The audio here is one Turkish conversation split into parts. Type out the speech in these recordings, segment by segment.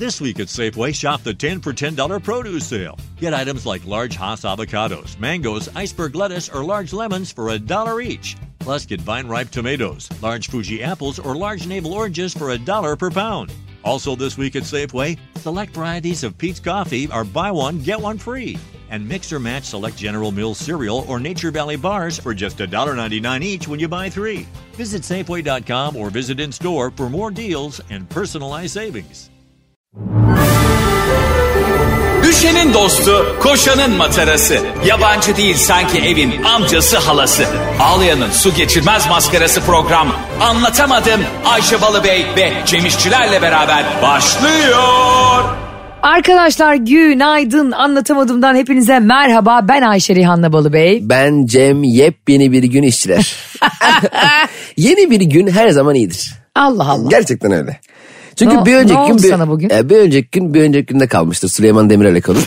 This week at Safeway, shop the 10 for $10 produce sale. Get items like large Haas avocados, mangoes, iceberg lettuce, or large lemons for a dollar each. Plus, get vine ripe tomatoes, large Fuji apples, or large navel oranges for a dollar per pound. Also, this week at Safeway, select varieties of Pete's Coffee are buy one, get one free. And mix or match select General Mills cereal or Nature Valley bars for just $1.99 each when you buy three. Visit Safeway.com or visit in store for more deals and personalized savings. Düşenin dostu, koşanın matarası. Yabancı değil sanki evin amcası halası. Ağlayanın su geçirmez maskarası program. Anlatamadım Ayşe Balıbey ve Cemişçilerle beraber başlıyor. Arkadaşlar günaydın anlatamadığımdan hepinize merhaba ben Ayşe Rihanna Balıbey. Ben Cem yepyeni bir gün işçiler. Yeni bir gün her zaman iyidir. Allah Allah. Gerçekten öyle. Çünkü Ne- bir ne önceki oldu gün, bir, sana bugün? E, bir önceki gün bir önceki günde kalmıştır Süleyman Demirel'e konu.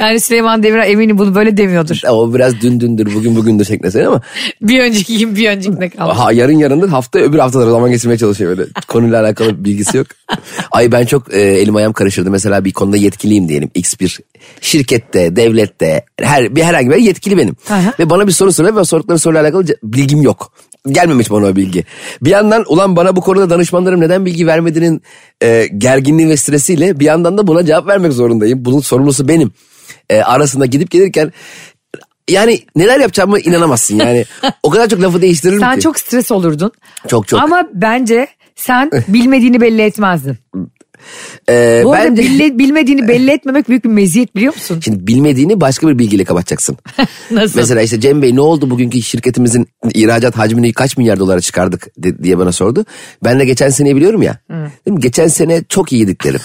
Yani Süleyman Demirel eminim bunu böyle demiyordur. o biraz dün dündür bugün bugündür şeklinde söylüyor ama Bir önceki gün bir öncekine kalmış. ha, yarın yarındır hafta öbür haftalara zaman geçirmeye çalışıyor böyle konuyla alakalı bir bilgisi yok. Ay ben çok e, elim ayağım karışırdı mesela bir konuda yetkiliyim diyelim X1 şirkette devlette her bir herhangi bir yetkili benim Aha. ve bana bir soru soruyor ve sordukları soruyla alakalı ce- bilgim yok. Gelmemiş bana o bilgi. Bir yandan ulan bana bu konuda danışmanlarım neden bilgi vermediğinin e, gerginliği ve stresiyle bir yandan da buna cevap vermek zorundayım. Bunun sorumlusu benim. E, arasında gidip gelirken yani neler yapacağımı inanamazsın yani. o kadar çok lafı değiştiririm Sen ki. çok stres olurdun. Çok Eh. çok. Ama bence sen bilmediğini belli etmezdin. Ee, Bu arada bence- bille- Eh. bilmediğini belli etmemek büyük bir meziyet biliyor musun? Şimdi bilmediğini başka bir bilgiyle kapatacaksın. Nasıl? Mesela işte Cem Bey ne oldu bugünkü şirketimizin ihracat hacmini kaç milyar dolara çıkardık de- diye bana sordu. Ben de geçen seneyi biliyorum ya. Dedim, geçen sene çok iyiydik dedim.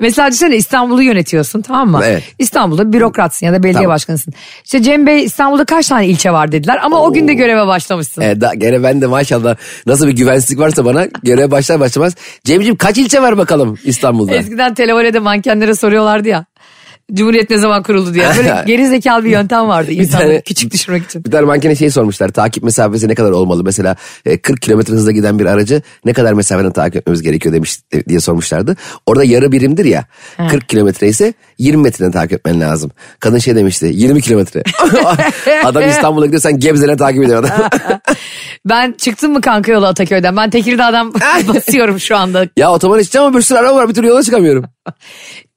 Mesela düşünsene İstanbul'u yönetiyorsun tamam mı? Evet. İstanbul'da bürokratsın ya da belediye Tamam. başkanısın. İşte Cem Bey İstanbul'da kaç tane ilçe var dediler ama o gün de göreve başlamışsın. ee, da, gene ben de maşallah nasıl bir güvensizlik varsa bana görev başlar başlamaz. Cemciğim kaç ilçe var bakalım İstanbul'da? Eskiden televolede mankenlere soruyorlardı ya. Cumhuriyet ne zaman kuruldu diye. Böyle geri zekalı bir yöntem vardı insanları tane- küçük düşürmek için. Bir tane mankene şey sormuşlar takip mesafesi ne kadar olmalı mesela e, 40 kilometre hızla giden bir aracı ne kadar mesafeden takip etmemiz gerekiyor demiş e, diye sormuşlardı. Orada yarı birimdir ya 40 kilometre ise 20 metreden takip etmen lazım. Kadın şey demişti 20 kilometre. adam İstanbul'a gidiyor sen Gebze'den takip ediyor adam. Ben çıktım mı kanka yolu Ataköy'den? Ben Tekirdağ'dan basıyorum şu anda. ya otoban içeceğim ama bir sürü araba var bir türlü yola çıkamıyorum.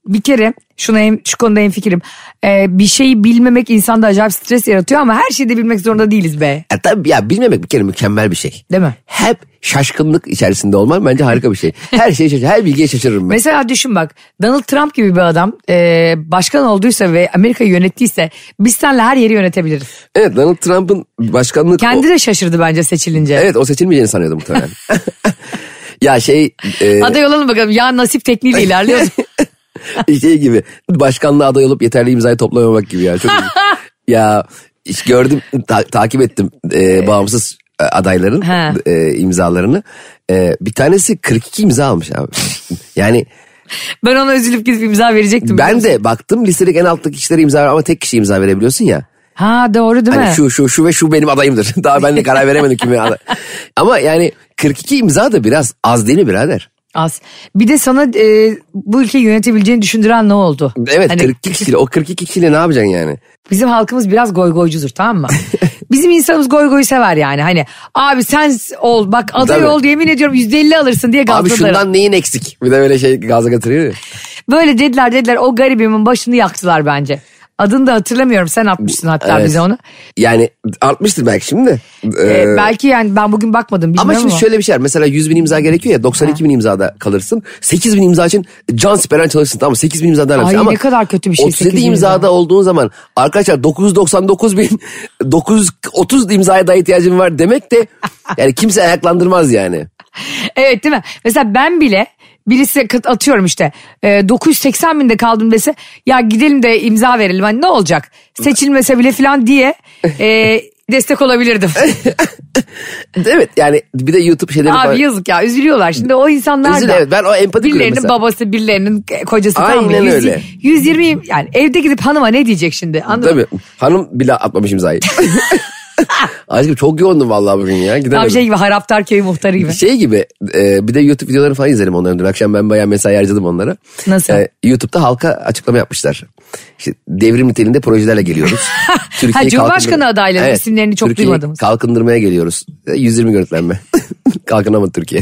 Bir kere şuna hem, şu konuda hem fikrim. Ee, bir şeyi bilmemek insanda acayip stres yaratıyor ama her şeyi de bilmek zorunda değiliz be. Ya, tabii ya bilmemek bir kere mükemmel bir şey. Değil mi? Hep şaşkınlık içerisinde olman bence harika bir şey. Her şeye şaşır, her bilgiye şaşırırım ben. Mesela düşün bak Donald Trump gibi bir adam e, başkan olduysa ve Amerika'yı yönettiyse biz senle her yeri yönetebiliriz. evet Donald Trump'ın başkanlık... Kendi de şaşırdı bence seçilince. Evet o seçilmeyeceğini sanıyordum muhtemelen. ya şey e, Aday olalım bakalım ya nasip tekniğiyle ilerliyoruz. şey gibi başkanlığa aday olup yeterli imzayı toplamamak gibi ya. Çok, ya iş gördüm ta- takip ettim e, bağımsız e, adayların Ha. e, imzalarını. E, bir tanesi 42 imza almış abi. yani Ben ona üzülüp gidip imza verecektim. ben de baktım listelik en alttaki kişilere imza ver ama tek kişi imza verebiliyorsun ya. Ha doğru değil mi? Hani şu şu şu ve şu benim adayımdır. Daha ben de karar veremedim kime aday. Ama yani 42 imza da biraz az değil mi birader? Az. Bir de sana e, bu ülkeyi yönetebileceğini düşündüren ne oldu? Evet Hani 42 kişiyle o 42 kişiyle ne yapacaksın yani? Bizim halkımız biraz goygoycudur tamam mı? Bizim insanımız goygoyu sever yani. Hani abi sen ol bak aday Tabii. ol yemin ediyorum %50 alırsın diye Abi gazladılar. şundan neyin eksik? Bir de böyle şey gaza getiriyor ya. Böyle dediler dediler o garibimin başını yaktılar bence. Adını da hatırlamıyorum sen atmışsın hatta Evet. bize onu. Yani artmıştır belki şimdi. Ee, E, belki yani ben bugün bakmadım bilmiyorum ama ama. şimdi şöyle bir şey var. Mesela 100 bin imza gerekiyor ya 92 bin imzada kalırsın. 8 bin imza için can siperen çalışırsın tamam mı? 8 bin imzada önemli Ay, ama ne kadar kötü bir şey, 37 8 bin imza. imzada olduğun zaman arkadaşlar 999 bin 930 imzaya daha ihtiyacın var demek de yani kimse ayaklandırmaz yani. Evet değil mi? Mesela ben bile birisi kıt- atıyorum işte e, 980 binde kaldım dese ya gidelim de imza verelim hani ne olacak seçilmese bile falan diye e, destek olabilirdim. Evet yani bir de YouTube şeyleri falan- Abi yazık ya üzülüyorlar şimdi o insanlar Üzül- da. evet, ben o empati kuruyorum Birilerinin mesela. babası birilerinin kocası tamam mı? Aynen Yüz- öyle. 120 yani evde gidip hanıma ne diyecek şimdi anladın mı? Tabii hanım bile atmamış imzayı. Aşkım çok yoğundum vallahi bugün ya. Gidemedim. Tam şey gibi haraptar köyü muhtarı gibi. Şey gibi e, bir de YouTube videoları falan izledim onların dün. Akşam ben bayağı mesai harcadım onlara. E, Nasıl? YouTube'da halka açıklama yapmışlar. İşte devrim niteliğinde projelerle geliyoruz. Türkiye'yi Cumhurbaşkanı kalkındır- adayları isimlerini çok Türkiye'yi duymadığımız. kalkındırmaya geliyoruz. E, 120 görüntülenme. Kalkınamadı Türkiye.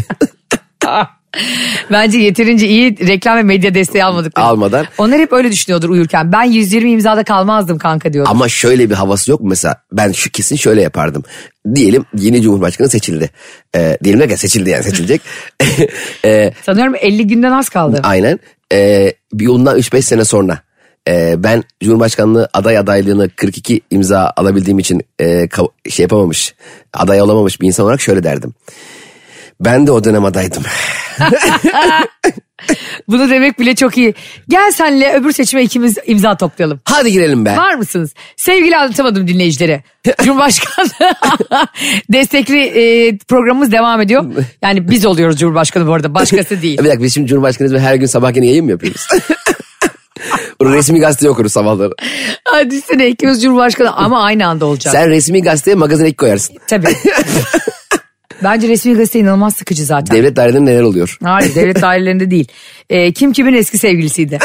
Bence yeterince iyi reklam ve medya desteği almadık. Almadan. Onlar hep öyle düşünüyordur uyurken. Ben 120 imzada kalmazdım kanka diyordu. Ama şöyle bir havası yok mu mesela? Ben şu kesin şöyle yapardım. Diyelim yeni Cumhurbaşkanı seçildi. E, diyelim derken seçildi yani seçilecek. e, Sanıyorum 50 günden az kaldı. Aynen. Ee, bir ondan 3-5 sene sonra ee, ben Cumhurbaşkanlığı aday adaylığını 42 imza alabildiğim için ee, kav- şey yapamamış, aday olamamış bir insan olarak şöyle derdim. Ben de o dönem adaydım. Bunu demek bile çok iyi. Gel senle öbür seçime ikimiz imza toplayalım. Hadi girelim be. Var mısınız? Sevgili anlatamadım dinleyicilere. Cumhurbaşkanı destekli e, programımız devam ediyor. Yani biz oluyoruz Cumhurbaşkanı bu arada başkası değil. Bir dakika biz şimdi Cumhurbaşkanıyız ve her gün sabah yine yayın mı yapıyoruz? Bunu resmi gazete okuruz sabahları. Hadi sene ikimiz Cumhurbaşkanı ama aynı anda olacak. Sen resmi gazeteye magazin ek koyarsın. Tabii. Bence resmi gazete inanılmaz sıkıcı zaten. Devlet dairelerinde neler oluyor? Hayır devlet dairelerinde değil. Ee, kim kimin eski sevgilisiydi?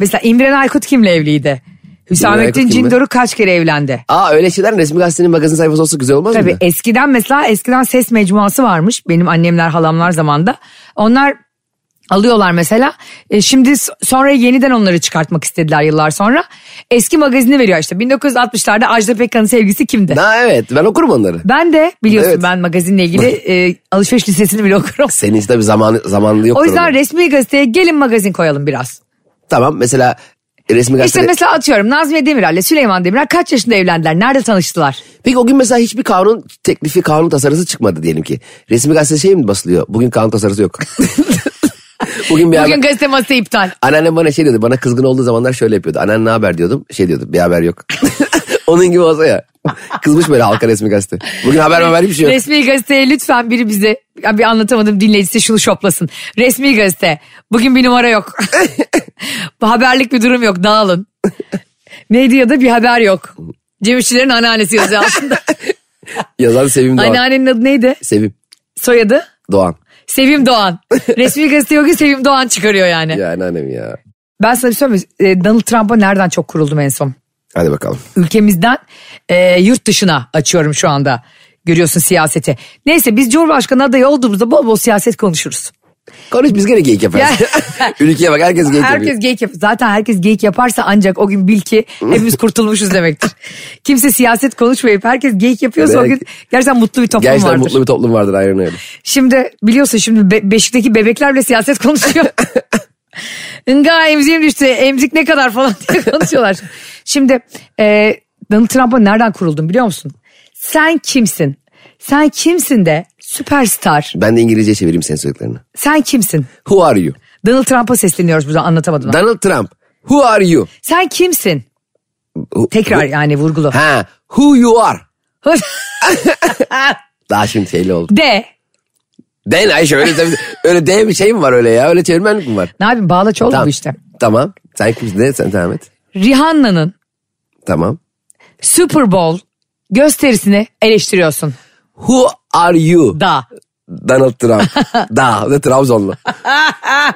Mesela İmren Aykut kimle evliydi? Aykut Hüsamettin kimle? Cindoruk kaç kere evlendi? Aa öyle şeyler resmi gazetenin magazin sayfası olsa güzel olmaz Tabii mıydı? eskiden mesela eskiden ses mecmuası varmış benim annemler halamlar zamanda. Onlar alıyorlar mesela. E, şimdi s- sonra yeniden onları çıkartmak istediler yıllar sonra. Eski magazini veriyor işte 1960'larda Ajda Pekkan'ın sevgisi kimdi? Ha evet ben okurum onları. Ben de biliyorsun Evet. ben magazinle ilgili e, alışveriş listesini bile okurum. Senin işte tabii zamanı, zamanlı yok. O yüzden durumu. resmi gazeteye gelin magazin koyalım biraz. Tamam mesela resmi İşte gazetede. mesela atıyorum Nazmiye Demirel'le Süleyman Demirel kaç yaşında evlendiler? Nerede tanıştılar? Peki o gün mesela hiçbir kanun teklifi, kanun tasarısı çıkmadı diyelim ki. Resmi gazete şey mi basılıyor? Bugün kanun tasarısı yok. Bugün bir Bugün haber... gazete masası iptal. Anneannem bana şey diyordu. Bana kızgın olduğu zamanlar şöyle yapıyordu. Anneanne ne haber diyordum. Şey diyordu. Bir haber yok. Onun gibi olsa ya. Kızmış böyle halka resmi gazete. Bugün haber haber hiçbir şey yok. Resmi gazeteye lütfen biri bize ya bir anlatamadım dinleyicisi şunu şoplasın. Resmi gazete. Bugün bir numara yok. Bu haberlik bir durum yok dağılın. Neydi ya da bir haber yok. Cem İşçilerin anneannesi yazıyor aslında. Yazan Sevim Doğan. Anneannenin adı neydi? Sevim Soyadı? Doğan. Sevim Doğan. Resmi gazete yok ki Sevim Doğan çıkarıyor yani. Ya anneannem ya. Ben sana bir şey söyleyeyim mi? E, Donald Trump'a nereden çok kuruldum en son? Hadi bakalım. ülkemizden e, yurt dışına açıyorum şu anda. Görüyorsun siyaseti. Neyse biz Cumhurbaşkanı adayı olduğumuzda bol bol siyaset konuşuruz. Konuş biz gene geyik yaparız. Ya. Ülkeye bak herkes geyik yapıyor. Herkes geyik yap. Zaten herkes geyik yaparsa ancak o gün bil ki hepimiz kurtulmuşuz demektir. Kimse siyaset konuşmayıp herkes geyik yapıyorsa o gün gerçekten mutlu bir toplum Gerçekten vardır. mutlu bir toplum vardır aynen öyle. Şimdi biliyorsun şimdi Be- Beşik'teki bebekler bile siyaset konuşuyor. Nga emziğim düştü emzik ne kadar falan diye konuşuyorlar. Şimdi e, Donald Trump'a nereden kuruldun biliyor musun? Sen kimsin? Sen kimsin de süperstar. Ben de İngilizce çevireyim senin söylediklerini. Sen kimsin? Who are you? Donald Trump'a sesleniyoruz buradan anlatamadım. ben. Donald Trump. Who are you? Sen kimsin? Who- Tekrar yani vurgulu. Ha, who you are? Daha şimdi şeyli oldu. de Den Ayşe öyle, tabii- öyle de bir şey mi var öyle ya? Öyle çevirmenlik mi var? ne yapayım bağlaç oldu bu işte. Tamam. Sen kimsin? Ne? Sen devam et. Rihanna'nın Tamam. Super Bowl gösterisini eleştiriyorsun. Who are you? Da. Donald Trump. da. O da Trabzonlu.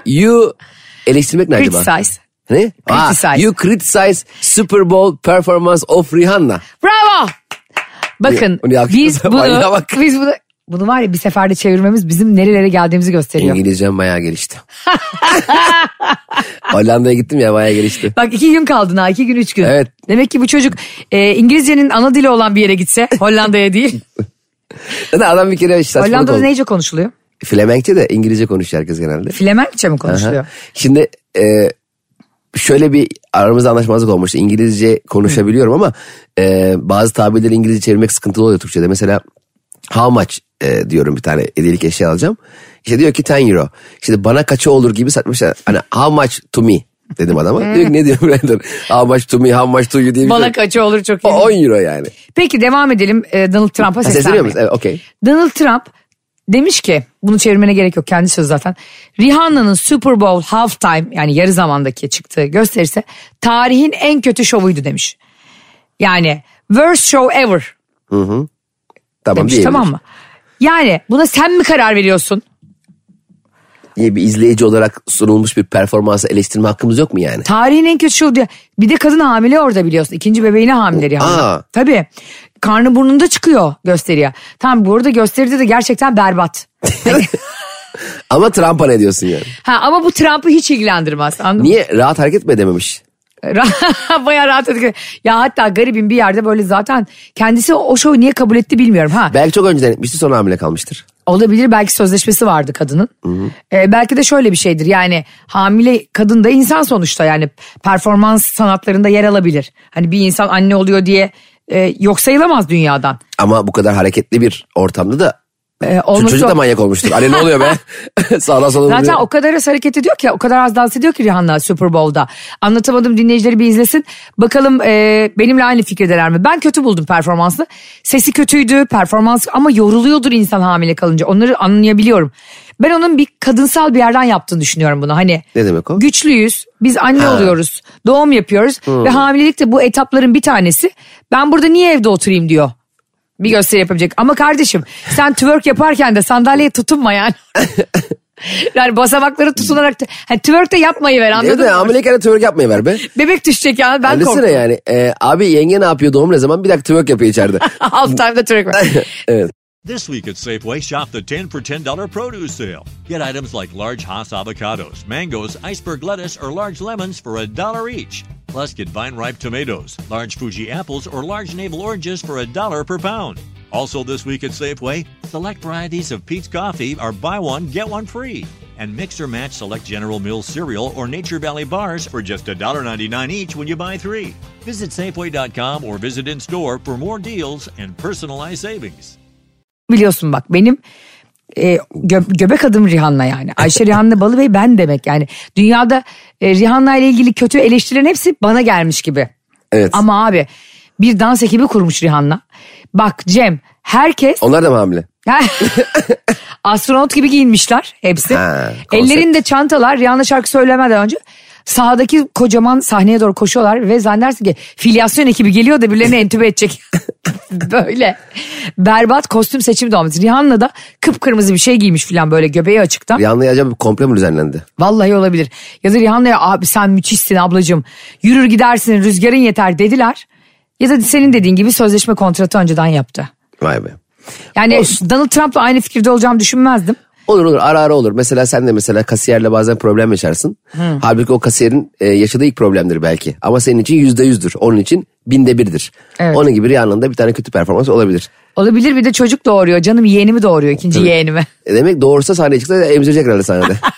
you eleştirmek ne acaba? Criticize. Ne? Criticize. Aa, you criticize Super Bowl performance of Rihanna. Bravo. Bakın Bunu yakıştı. biz bunu, Manyağa bak. biz bunu bunu var ya bir seferde çevirmemiz bizim nerelere geldiğimizi gösteriyor. İngilizcem bayağı gelişti. Hollanda'ya gittim ya bayağı gelişti. Bak iki gün kaldın ha iki gün üç gün. Evet. Demek ki bu çocuk e, İngilizcenin ana dili olan bir yere gitse Hollanda'ya değil. Zaten adam bir kere işte saçmalık Hollanda'da oldu. neyce konuşuluyor? Flemenkçe de İngilizce konuşuyor herkes genelde. Flemenkçe mi Aha. konuşuluyor? Şimdi e, şöyle bir aramızda anlaşmazlık olmuştu. İngilizce konuşabiliyorum ama e, bazı tabirleri İngilizce çevirmek sıkıntılı oluyor Türkçe'de. Mesela how much e, diyorum bir tane hediyelik eşya alacağım. İşte diyor ki 10 euro. İşte bana kaça olur gibi satmışlar. Hani how much to me dedim adama. diyor ki ne diyor birader? How much to me, how much to you diye bir şey. Balak açı olur çok iyi. O 10 euro yani. Peki devam edelim e, Donald Trump'a Sesleniyor seslenmeye. musun? Evet, okey. Donald Trump demiş ki bunu çevirmene gerek yok kendi sözü zaten. Rihanna'nın Super Bowl halftime yani yarı zamandaki çıktığı gösterisi tarihin en kötü şovuydu demiş. Yani worst show ever. Tamam demiş diyebilir. tamam mı? Yani buna sen mi karar veriyorsun? Niye bir izleyici olarak sunulmuş bir performansa eleştirme hakkımız yok mu yani? Tarihin en kötü şovu diye. Bir de kadın hamile orada biliyorsun. İkinci bebeğine hamile yani. Aa. Tabii. Karnı burnunda çıkıyor gösteriye. Tamam bu arada gösteride de gerçekten berbat. Ama Trump'a ne diyorsun yani? Ha, ama bu Trump'ı hiç ilgilendirmez. Anladın mı? Niye rahat hareket mi edememiş? Bayağı rahat edik. Ya hatta garibim bir yerde böyle zaten kendisi o şovu niye kabul etti bilmiyorum. Ha Belki çok önceden etmişti sonra hamile kalmıştır. Olabilir belki sözleşmesi vardı kadının. Ee, belki de şöyle bir şeydir yani hamile kadın da insan sonuçta yani performans sanatlarında yer alabilir. Hani bir insan anne oluyor diye e, yok sayılamaz dünyadan. Ama bu kadar hareketli bir ortamda da Ee, Çocuk- olması çocuk da manyak olmuştur. Anne ne oluyor be? Sağdan sola Zaten vuruyor. o kadar az hareket ediyor ki o kadar az dans ediyor ki Rihanna Super Bowl'da. Anlatamadım dinleyicileri bir izlesin. Bakalım e, benimle aynı fikirdeler mi? Ben kötü buldum performansı. Sesi kötüydü performans ama yoruluyordur insan hamile kalınca. Onları anlayabiliyorum. Ben onun bir kadınsal bir yerden yaptığını düşünüyorum bunu. Hani Ne demek o? Güçlüyüz. Biz anne oluyoruz. Doğum yapıyoruz ve hamilelik de bu etapların bir tanesi. Ben burada niye evde oturayım diyor. Bir gösteri yapabilecek. Ama kardeşim sen twerk yaparken de sandalyeye tutunma yani. Yani basamakları tutunarak da- hani twerk de yapmayı ver Evet, anladın mı? hamileyken de twerk yapmayı ver be. Bebek düşecek ya ben Öylesine korktum. yani. Ee, abi yenge ne yapıyor doğum ne zaman? Bir dakika twerk yapıyor içeride. Half time'da twerk var. evet. This week at Safeway, shop the 10 for $10 produce sale. Get items like large Hass avocados, mangoes, iceberg lettuce, or large lemons for a dollar each. Plus, get vine ripe tomatoes, large Fuji apples, or large navel oranges for a dollar per pound. Also, this week at Safeway, select varieties of Pete's coffee are buy one, get one free. And mix or match select General Mills cereal or Nature Valley bars for just $1.99 each when you buy three. Visit Safeway.com or visit in store for more deals and personalized savings. Biliyorsun bak benim e, gö- göbek adım Rihanna yani. Ayşe Rihanna Balıbey ben demek yani. Dünyada e, Rihanna ile ilgili kötü eleştirilen hepsi bana gelmiş gibi. Evet. Ama abi bir dans ekibi kurmuş Rihanna. Bak Cem herkes Onlar da mı hamile? astronot gibi giyinmişler hepsi. Ha, konsept. Ellerinde çantalar Rihanna şarkı söylemeden önce sahadaki kocaman sahneye doğru koşuyorlar ve zannedersin ki filyasyon ekibi geliyor da birilerini entübe edecek. böyle berbat kostüm seçimi de olmuş. Rihanna da kıpkırmızı bir şey giymiş falan böyle göbeği açıkta. Rihanna'ya acaba bir komple mi düzenlendi? Vallahi olabilir. Ya da Rihanna'ya abi sen müthişsin ablacığım. Yürür gidersin rüzgarın yeter dediler. Ya da senin dediğin gibi sözleşme kontratı önceden yaptı. Vay be. Yani Donald Trump'la aynı fikirde olacağımı düşünmezdim. Olur olur ara ara olur. Mesela sen de mesela kasiyerle bazen problem yaşarsın. Hmm. Halbuki o kasiyerin e, yaşadığı ilk problemdir belki. Ama senin için yüzde yüzdür. Onun için binde birdir. Evet. Onun gibi Rihanna'nın da bir tane kötü performans olabilir. Olabilir bir de çocuk doğuruyor. Canım yeğenimi doğuruyor ikinci yeğenimi. E demek doğursa sahneye çıksa emzirecek herhalde sahnede.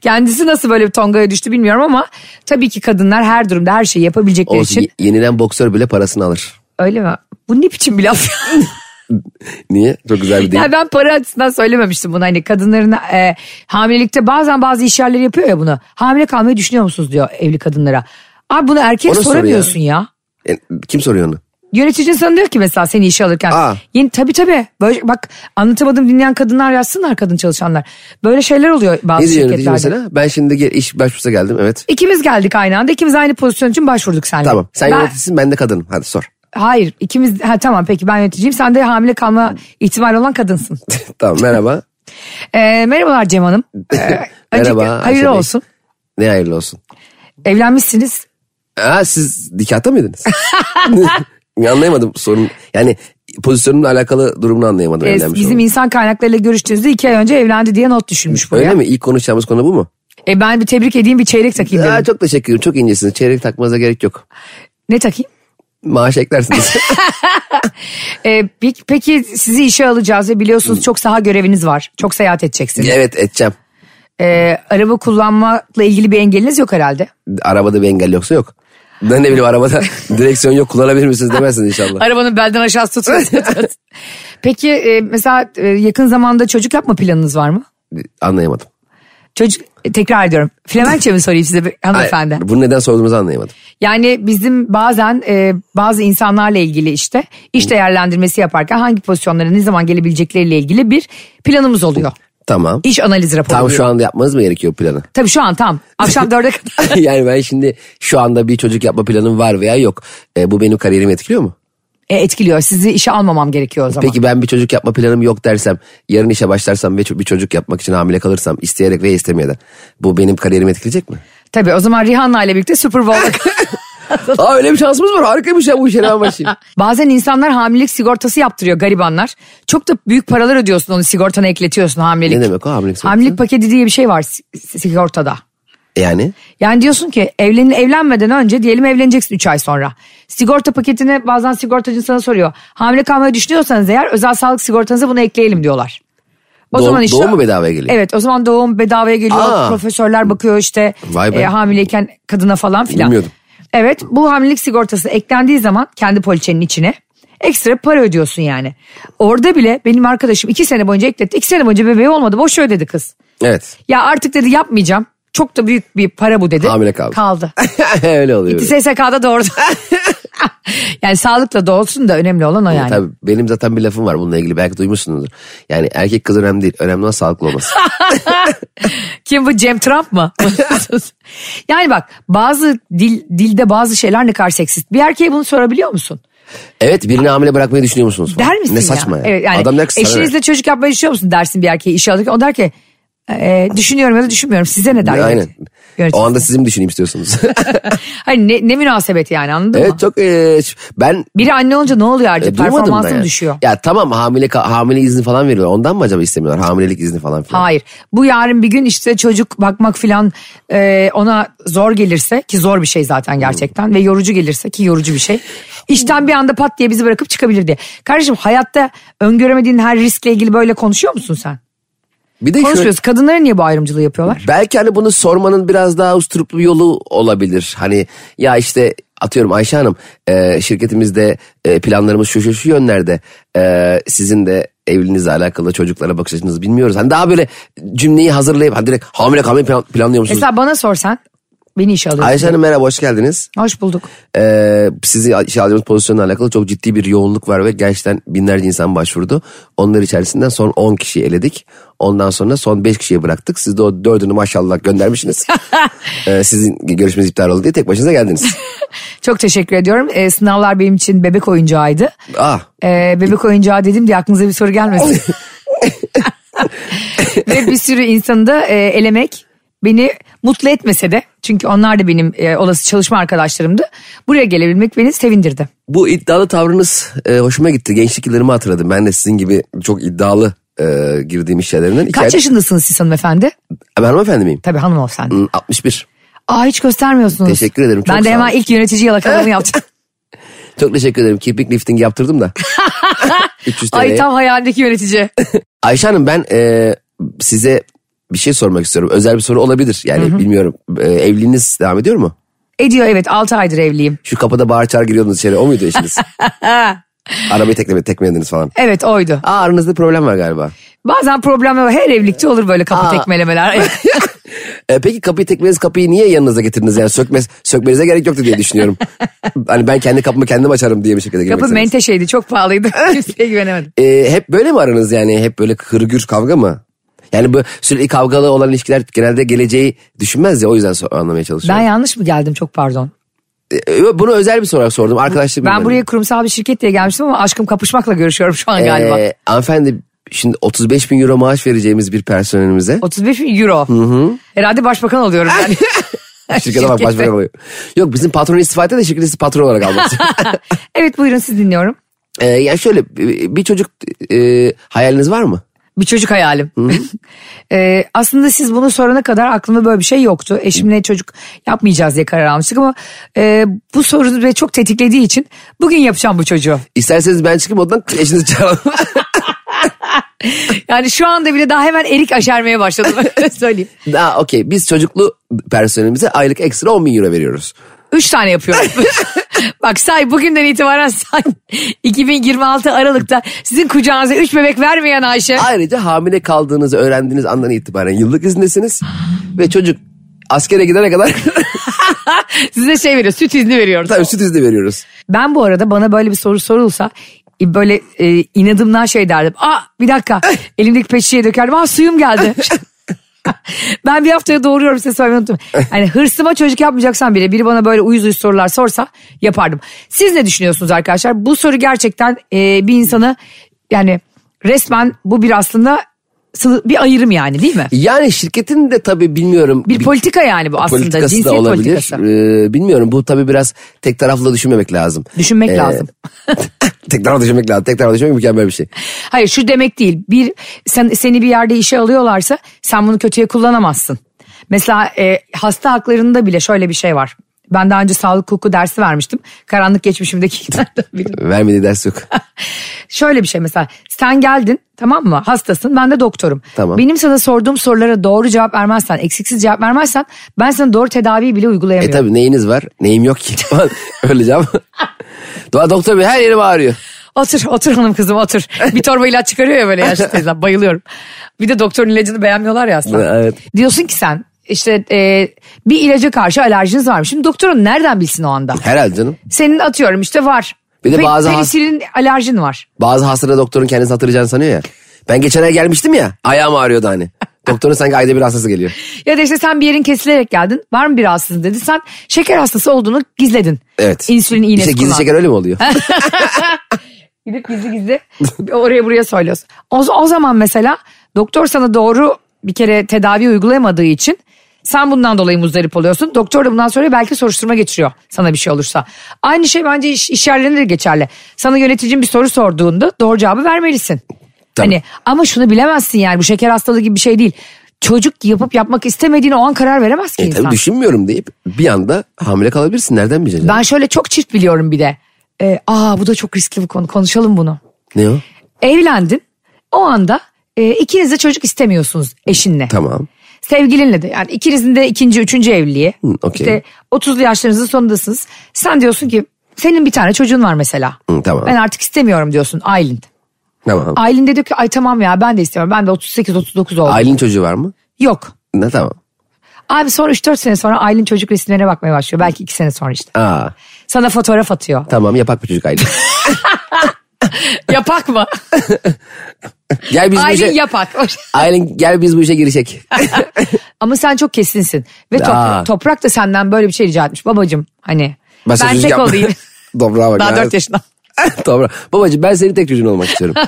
Kendisi nasıl böyle bir tongaya düştü bilmiyorum ama tabii ki kadınlar her durumda her şeyi yapabilecekleri Olsun için. ye- yenilen boksör bile parasını alır. Öyle mi? Bu ne biçim bir laf? Niye? Çok güzel bir değil. ya ben para açısından söylememiştim bunu. Hani kadınların e, hamilelikte bazen bazı iş yerleri yapıyor ya bunu. Hamile kalmayı düşünüyor musunuz diyor evli kadınlara. Abi bunu erkek O nasıl soru soramıyorsun ya. E, Kim soruyor onu? Yöneticin sana diyor ki mesela seni işe alırken. Aa. Yeni, tabii tabii. Böyle, bak anlatamadım dinleyen kadınlar yazsınlar kadın çalışanlar. Böyle şeyler oluyor bazı Ne diyor şirketlerde. yönetici mesela? Ben şimdi gel- iş başvurusa geldim evet. İkimiz geldik aynı anda. İkimiz aynı pozisyon için başvurduk seninle. Tamam sen Ben- yöneticisin ben de kadınım hadi sor. Hayır ikimiz ha, tamam peki ben yöneticiyim. Sen de hamile kalma ihtimali olan kadınsın. tamam merhaba. Ee, merhabalar Cem Hanım. Ee, öncelikle Ayşe hayırlı Bey. olsun. Ne hayırlı olsun. Evlenmişsiniz. Aa, siz nikahta mıydınız? anlayamadım sorun. Yani pozisyonumla alakalı durumunu anlayamadım. Ee, evlenmiş bizim olmam. insan kaynaklarıyla görüştüğünüzde iki ay önce evlendi diye not düşülmüş buraya. Öyle mi? İlk konuşacağımız konu bu mu? E, ben bir tebrik edeyim bir çeyrek takayım dedim. Aa, çok teşekkür ederim. Çok incesiniz. Çeyrek takmanıza gerek yok. Ne takayım? Maaş eklersiniz. Ee, peki, peki sizi işe alacağız ve biliyorsunuz çok saha göreviniz var. Çok seyahat edeceksiniz. evet edeceğim. Ee, araba kullanmakla ilgili bir engeliniz yok herhalde. Arabada bir engel yoksa yok. Ben ne bileyim arabada direksiyon yok kullanabilir misiniz demezsiniz inşallah. Arabanın belden aşağısı tutuyor. Peki e, mesela e, yakın zamanda çocuk yapma planınız var mı? Anlayamadım. Çocuk e, tekrar ediyorum. Flemenkçe mi sorayım size bir- hanımefendi? Hayır, Bunu neden sorduğumuzu anlayamadım. Yani bizim bazen e, bazı insanlarla ilgili işte iş değerlendirmesi yaparken hangi pozisyonlara ne zaman gelebilecekleriyle ilgili bir planımız oluyor. Tamam. İş analiz raporu. Tam Tam şu anda yapmanız mı gerekiyor planı? Tabii şu an tam. Akşam dörde kadar. yani ben şimdi şu anda bir çocuk yapma planım var veya yok. E, bu benim kariyerimi etkiliyor mu? e, etkiliyor. Sizi işe almamam gerekiyor o zaman. Peki ben bir çocuk yapma planım yok dersem, yarın işe başlarsam ve ço- bir çocuk yapmak için hamile kalırsam isteyerek veya istemeyerek bu benim kariyerimi etkileyecek mi? Tabii o zaman Rihanna ile birlikte Super Bowl'a Aa öyle bir şansımız var harikaymış ya bu işe rağmen şey. Bazen insanlar hamilelik sigortası yaptırıyor garibanlar. Çok da büyük paralar ödüyorsun onu sigortana ekletiyorsun hamilelik. Ne demek o hamilelik sigortası? Hamilelik paketi diye bir şey var si- si- sigortada. Yani Yani diyorsun ki evlen evlenmeden önce diyelim evleneceksin 3 ay sonra. Sigorta paketine bazen sigortacı sana soruyor. Hamile kalmayı düşünüyorsanız eğer özel sağlık sigortanıza bunu ekleyelim diyorlar. O Doğum- doğum mu bedavaya geliyor? Evet o zaman doğum bedavaya geliyor. Aa. Profesörler bakıyor işte Vay be. e, hamileyken kadına falan filan. Bilmiyordum. Evet bu hamilelik sigortası eklendiği zaman kendi poliçenin içine ekstra para ödüyorsun yani. Orada bile benim arkadaşım 2 sene boyunca ekletti. 2 sene boyunca bebeği olmadı boş ödedi kız. evet Ya artık dedi yapmayacağım. Çok da büyük bir para bu dedi. Hamile kaldı. Kaldı. öyle oluyor. SSK'da doğurdu. yani sağlıkla doğsun da önemli olan o yani. Tabii benim zaten bir lafım var bununla ilgili belki duymuşsunuzdur. Yani erkek kız önemli değil önemli olan sağlıklı olması. Kim bu Cem Trump mı? yani bak bazı dil, dilde bazı şeyler ne kadar seksist. Bir erkeğe bunu sorabiliyor musun? evet birini hamile bırakmayı düşünüyor musunuz? falan? Der misin Ne ya? saçma ya. Evet, yani Adam der ki sana ne? eşinizle çocuk yapmayı düşünüyor musun dersin bir erkeğe işe alırken. O der ki "E, düşünüyorum ya da düşünmüyorum. Size ne der? Aynen. yönetici- yöneticisi? O anda sizi mi düşüneyim istiyorsunuz? Hani ne, ne münasebet yani anladın mı? evet çok e, ş- ben Biri anne olunca ne oluyor artık? e, duymadım da Performansın yani. düşüyor. Ya tamam hamile ka- hamile izni falan veriyorlar. Ondan mı acaba istemiyorlar? Hamilelik izni falan filan. Hayır. Bu yarın bir gün işte çocuk bakmak filan e, ona zor gelirse ki zor bir şey zaten gerçekten ve yorucu gelirse ki yorucu bir şey. İşten bir anda pat diye bizi bırakıp çıkabilir diye. Kardeşim hayatta öngöremediğin her riskle ilgili böyle konuşuyor musun sen? Bir de şöyle- Konuşuyoruz. Kadınlara niye bu ayrımcılığı yapıyorlar? Belki hani bunu sormanın biraz daha usturuplu yolu olabilir. Hani ya işte atıyorum Ayşe Hanım e, şirketimizde e, planlarımız şu şu şu yönlerde. E, sizin de evliliğinizle alakalı çocuklara bakış açınızı bilmiyoruz. Hani daha böyle cümleyi hazırlayıp hani direkt hamile kalmayı plan- planlıyor musunuz? Mesela bana sorsan beni işe alıyorsun. Ayşe Hanım merhaba hoş geldiniz. Hoş bulduk. Ee, sizi işe aldığımız pozisyonla alakalı çok ciddi bir yoğunluk var ve gerçekten binlerce insan başvurdu. Onlar içerisinden son 10 kişiyi eledik. Ondan sonra son 5 kişiye bıraktık. Siz de o dördünü maşallah göndermişsiniz. Ee, sizin görüşmeniz iptal oldu diye tek başınıza geldiniz. Çok teşekkür ediyorum. E, sınavlar benim için bebek oyuncağıydı. ah Ee, bebek oyuncağı dedim diye aklınıza bir soru gelmesin. Ve bir sürü insanı da e, elemek beni mutlu etmese de çünkü onlar da benim e, olası çalışma arkadaşlarımdı. Buraya gelebilmek beni sevindirdi. bu iddialı tavrınız e, hoşuma gitti. Gençlik yıllarımı hatırladım. Ben de sizin gibi çok iddialı e, girdiğim iş yerlerinden. Kaç yaşındasınız siz hanımefendi? Ben hanımefendi miyim? Tabii hanım hanımefendi. Hmm, 61. Aa hiç göstermiyorsunuz. Teşekkür ederim, çok ben de sağ hemen olun. ilk yönetici yalakalığımı yaptım. Çok teşekkür ederim. Kirpik lifting yaptırdım da. 300 Ay TL'ye. tam hayalimdeki yönetici. Ayşe Hanım ben e, size bir şey sormak istiyorum. Özel bir soru olabilir. Yani bilmiyorum. E, evliliğiniz devam ediyor mu? Ediyor evet 6 aydır evliyim. Şu kapıda bağır çağır giriyordunuz içeri. O muydu işiniz? Arabayı tekleme, tekmelediniz falan. Evet oydu. Aa aranızda bir problem var galiba. Bazen problem var. Her evlilikte olur böyle kapı Aa. tekmelemeler. E, peki kapıyı tekmelediniz kapıyı niye yanınıza getirdiniz? Yani sökmez, sökmenize gerek yoktu diye düşünüyorum. hani ben kendi kapımı kendim açarım diye bir şekilde girmek kapı istediniz. menteşeydi çok pahalıydı. Kimseye güvenemedim. E, hep böyle mi aranız yani? Hep böyle hırgür kavga mı? Yani bu sürekli kavgalı olan ilişkiler genelde geleceği düşünmez ya o yüzden so- anlamaya Ben çalışıyorum. yanlış mı geldim çok pardon. E, Bunu özel bir soru sordum. Arkadaşlar Ben buraya kurumsal bir şirket diye gelmiştim ama aşkım kapışmakla görüşüyorum şu an galiba. Ee, hanımefendi şimdi 35 bin euro maaş vereceğimiz bir personelimize. 35 bin euro. Herhalde başbakan oluyorum yani. Şirkete bak başbakan oluyor. Yok bizim patron istifa etti de şirketi patron olarak almak için. evet buyurun siz dinliyorum. Ee, yani şöyle bir- bir çocuk e, hayaliniz var mı? Bir çocuk hayalim. Ee, aslında siz bunu sorana kadar aklımda böyle bir şey yoktu. Eşimle çocuk yapmayacağız diye karar almıştık ama e, bu sorunu beni çok tetiklediği için bugün yapacağım bu çocuğu. İsterseniz ben çıkayım odadan eşinizi çağıralım. Yani şu anda bile daha hemen erik aşermeye başladım öyle söyleyeyim. Daha okey biz çocuklu personelimize aylık ekstra 10 bin euro veriyoruz. Üç tane yapıyorum. Bak say bugünden itibaren say 2026 Aralık'ta sizin kucağınıza üç bebek vermeyen Ayşe. Ayrıca hamile kaldığınızı öğrendiğiniz andan itibaren yıllık izindesiniz. ve çocuk askere gidene kadar Size şey veriyor süt izni veriyoruz. tabii süt izni veriyoruz. Ben bu arada bana böyle bir soru sorulsa e, böyle e, inadımdan şey derdim. Aa bir dakika elimdeki peçeteyi dökerdim. Aa suyum geldi. ben bir haftaya doğruyorum size söylemeyi unuttum. Hani hırsıma çocuk yapmayacaksan bile biri bana böyle uyuz uyuz sorular sorsa yapardım. Siz ne düşünüyorsunuz arkadaşlar? Bu soru gerçekten e, bir insanı yani resmen bu bir aslında sınıf- bir ayrım yani değil mi? Yani şirketin de tabii bilmiyorum. Bir politika yani bu aslında. politikası Cinsiyet da olabilir. politikası. Ee, bilmiyorum bu tabii biraz tek taraflı düşünmemek lazım. Düşünmek Ee, lazım. tek taraflı düşünmek lazım. Tek taraflı düşünmek mükemmel bir şey. Hayır şu demek değil. Bir sen, seni bir yerde işe alıyorlarsa sen bunu kötüye kullanamazsın. Mesela e, hasta haklarında bile şöyle bir şey var. Ben daha önce sağlık hukuku dersi vermiştim. Karanlık geçmişimdeki kitaptan biri. Vermediği ders yok. Şöyle bir şey mesela sen geldin tamam mı hastasın ben de doktorum. Tamam. Benim sana sorduğum sorulara doğru cevap vermezsen eksiksiz cevap vermezsen ben sana doğru tedaviyi bile e uygulayamıyorum. tabii neyiniz var? Neyim yok ki? Falan. Öyle cevap. Doğa doktor bey her yerim ağrıyor. Otur otur hanım kızım otur. Bir torba ilaç çıkarıyor ya böyle yaşlı teyzem bayılıyorum. Bir de doktorun ilacını beğenmiyorlar ya aslında. Evet. Diyorsun ki sen işte e, bir ilaca karşı alerjiniz varmış. Şimdi doktorun nereden bilsin o anda? Herhalde canım. Senin atıyorum işte var. Bir de bazı has- Penisilin alerjin var. Bazı hastalara doktorun kendisi hatırlayacağını sanıyor ya. Ben geçen ay gelmiştim ya. Ayağım ağrıyordu hani. Doktorun sanki ayda bir hastası geliyor. Ya da işte sen bir yerin kesilerek geldin. Var mı bir rahatsızlığın dedi. Sen şeker hastası olduğunu gizledin. Evet. İnsülin iğnesi İşte gizli kullandın. şeker öyle mi oluyor? Gidip gizli gizli oraya buraya söylüyorsun. O, o zaman mesela doktor sana doğru bir kere tedavi uygulayamadığı için sen bundan dolayı muzdarip oluyorsun. Doktor da bundan sonra belki soruşturma geçiriyor sana bir şey olursa. Aynı şey bence iş, iş yerlerinde de geçerli. Sana yöneticin bir soru sorduğunda doğru cevabı vermelisin. Tabii. Hani ama şunu bilemezsin yani bu şeker hastalığı gibi bir şey değil. Çocuk yapıp yapmak istemediğini o an karar veremez ki E, insan. tabii düşünmüyorum deyip bir anda hamile kalabilirsin. Nereden bileceksin? Ben şöyle çok çift biliyorum bir de. Ee, aa bu da çok riskli bir konu konuşalım bunu. Ne o? evlendin. O anda e, ikiniz de çocuk istemiyorsunuz eşinle. Tamam. Sevgilinle de yani ikinizin de ikinci üçüncü evliliği. okey. İşte 30'lu yaşlarınızın sonundasınız. Sen diyorsun ki senin bir tane çocuğun var mesela. Hı, tamam. Ben artık istemiyorum diyorsun Aylin. Tamam. Aylin de diyor ki ay tamam ya ben de istemiyorum. Ben de 38-39 oldum. Ailenin çocuğu var mı? Yok. Ne tamam. Abi sonra 3-4 sene sonra Aylin çocuk resimlerine bakmaya başlıyor. Belki 2 sene sonra işte. Aa, Sana fotoğraf atıyor. tamam yapak bir çocuk aile. Yapak mı? Gel biz bu işe... Aylin yapak. Aylin gel biz bu işe girişek. Ama sen çok kesinsin. Ve Aa. toprak, toprak da senden böyle bir şey rica etmiş. Babacım hani ben, sana çocuk tek yapma. olayım. Toprağa bak. Daha 4 yaşında. Toprak. Babacığım ben senin tek çocuğun olmak istiyorum.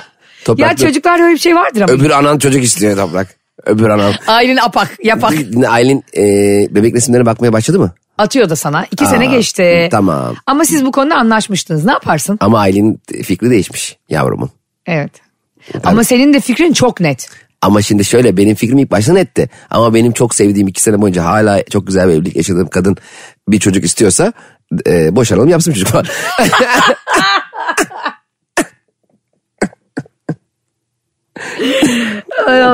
Toprak Ya çocuklarda öyle bir şey vardır ama. Öbür anan çocuk istiyor Toprak. Öbür anan. Ailen apak yapak Aylin e, bebek resimlerine bakmaya başladı mı? atıyor da sana. 2 Aa, sene geçti. tamam. Ama siz bu konuda anlaşmıştınız. Ne yaparsın? Ama Aylin fikri değişmiş yavrumun. Evet. Ama senin de fikrin çok net. Ama şimdi şöyle benim fikrim ilk baştan etti. Ama benim çok sevdiğim iki sene boyunca hala çok güzel bir evlilik yaşadığım kadın bir çocuk istiyorsa e, boşanalım yapsın çocuk falan.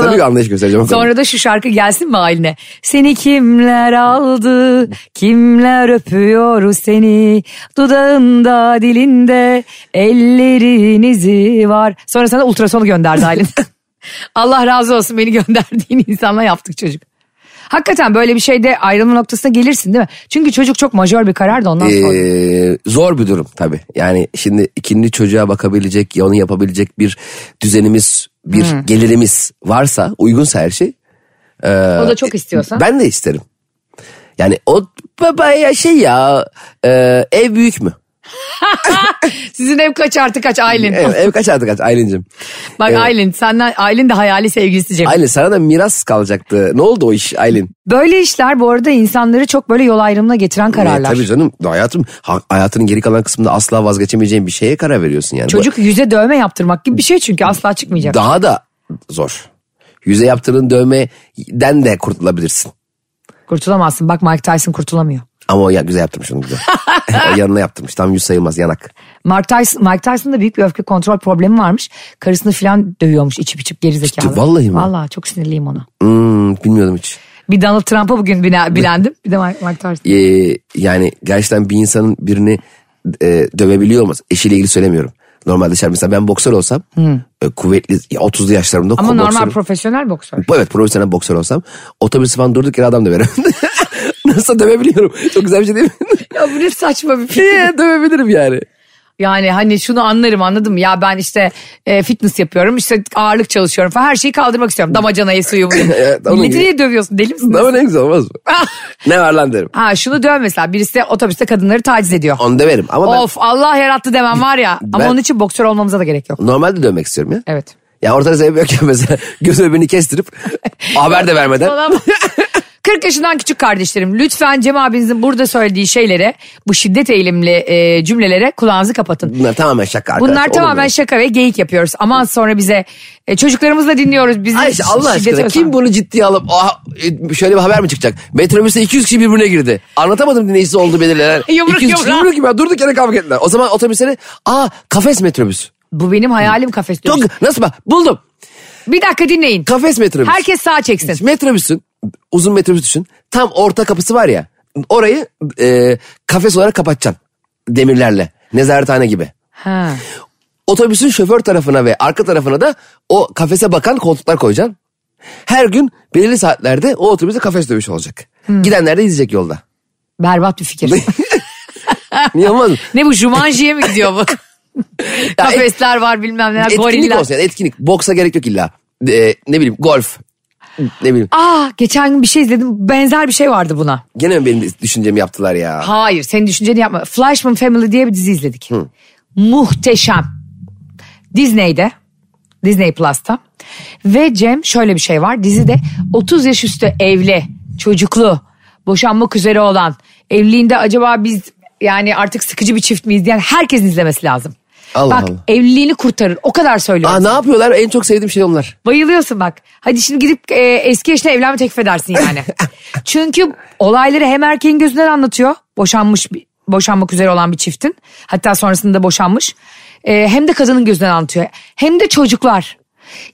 Tabii ki anlayış göstereceğim. o konuda. Sonra da şu şarkı gelsin mi haline? Seni kimler aldı, kimler öpüyor seni, dudağında dilinde ellerinizi var. Sonra sana ultrasonu gönderdi Aylin. Allah razı olsun beni gönderdiğin insanla yaptık çocuk. Hakikaten böyle bir şeyde ayrılma noktasına gelirsin değil mi? Çünkü çocuk çok majör bir karar da ondan sonra. Ee, zor bir durum tabii. Yani şimdi ikinci çocuğa bakabilecek, onu yapabilecek bir düzenimiz, bir gelirimiz varsa, uygunsa her şey. o da çok istiyorsan. E, Ben de isterim. Yani o baba ya şey ya e, ev büyük mü? Sizin ev kaç artı kaç Aylin? Ev, ev kaç artık kaç Aylin'cim? Bak Aylin senden Aylin de hayali sevgilisi Cem. Aylin sana da miras kalacaktı. Ne oldu o iş Aylin? E, Böyle işler bu arada insanları çok böyle yol ayrımına getiren kararlar. Ee, tabii canım hayatım ha- hayatının geri kalan kısmında asla vazgeçemeyeceğin bir şeye karar veriyorsun yani. Bu- Çocuk yüze dövme yaptırmak gibi bir şey çünkü asla çıkmayacak. daha da zor. Yüze yaptığın dövmeden de kurtulabilirsin. Kurtulamazsın. Bak Mike Tyson kurtulamıyor. Ama o ya güzel yaptırmış onu güzel. o yanına yaptırmış. Tam yüz sayılmaz yanak. Mark Tyson, Mike Tyson'da büyük bir öfke kontrol problemi varmış. Karısını filan dövüyormuş içip içip gerizekalı. Ciddi, vallahi mi? Vallahi çok sinirliyim ona. Hmm, bilmiyordum hiç. Bir Donald Trump'a bugün bine- bilendim. Bir de Mike, Mike Tyson. Ee, yani gerçekten bir insanın birini e, dövebiliyor olması. Eşiyle ilgili söylemiyorum. Normal dışarı mesela ben boksör olsam e, kuvvetli ya 30'lu yaşlarımda Ama ko- normal boksörüm. profesyonel boksör. Evet profesyonel boksör olsam otobüs falan durduk yere adam döverim. Nasıl dövebiliyorum? Çok güzel bir şey değil mi? ya bu ne saçma bir fikir. Ee, dövebilirim yani. Yani hani şunu anlarım anladım ya ben işte e, fitness yapıyorum işte ağırlık çalışıyorum falan her şeyi kaldırmak istiyorum. Damacanayı suyu. Evet, onun Milleti gibi. niye dövüyorsun deli misin? Ama ne güzel olmaz mı? ne var lan derim. ha şunu döv mesela birisi de otobüste kadınları taciz ediyor. Onu döverim ama ben Of Allah yarattı demem var ya ama Ben- onun için boksör olmamıza da gerek yok. normalde dövmek istiyorum ya. Evet. Ya ortada sebep yok ya mesela göz öbeğini kestirip haber de vermeden. Olamaz. 40 yaşından küçük kardeşlerim lütfen Cem abinizin burada söylediği şeylere bu şiddet eğilimli e, cümlelere kulağınızı kapatın. Bunlar tamamen şaka arkadaşlar. Bunlar olur mu tamamen ya? şaka ve geyik yapıyoruz. Aman sonra bize e, çocuklarımızla dinliyoruz. Bizi Ayşe Allah şiddete aşkına özen- kim bunu ciddiye alıp "Aha, e, şöyle bir haber mi çıkacak? Metrobüste 200 kişi birbirine girdi. Anlatamadım dinleyicisi oldu belirlenen. Yumruk 200 kişi yumruğa. yumruk gibi durduk yere kavga ettiler. O zaman otobüsleri aa kafes metrobüs. Bu benim hayalim kafes diyor. Çok- nasıl bak buldum Bir dakika dinleyin. kafes metrobüs. Herkes sağ çeksin. Metrobüsün uzun metrobüs düşün tam orta kapısı var ya orayı e, kafes olarak kapatacaksın demirlerle nezarethane gibi. Ha. Otobüsün şoför tarafına ve arka tarafına da o kafese bakan koltuklar koyacaksın. Her gün belirli saatlerde o otobüste kafes dövüşü olacak. Gidenler de izleyecek yolda. Berbat bir fikir. Niye olmaz mı? ne bu Jumanji'ye mi gidiyor bu? Ya et- Kafesler var bilmem neler etkinlik goriller. olsun yani etkinlik. Boksa gerek yok illa. Ee, ne bileyim golf. Ne bileyim. Aa geçen gün bir şey izledim benzer bir şey vardı buna. Gene mi benim düşüncemi yaptılar ya? Hayır senin düşünceni yapma. Flashman Family diye bir dizi izledik. Muhteşem. Disney'de. Disney Plus'ta. Ve Cem şöyle bir şey var. Dizide 30 yaş üstü evli, çocuklu, boşanmak üzere olan, evliliğinde acaba biz yani artık sıkıcı bir çift miyiz diyen herkesin izlemesi lazım. Allah bak Allah. evliliğini kurtarır. O kadar söylüyorum. Aa, ne yapıyorlar? En çok sevdiğim şey onlar. Bayılıyorsun bak. Hadi şimdi gidip e, eski eşine evlenme teklif edersin yani. Çünkü olayları hem erkeğin gözünden anlatıyor. Boşanmış bir- boşanmak üzere olan bir çiftin. Hatta sonrasında boşanmış. E, hem de kadının gözünden anlatıyor. Hem de çocuklar.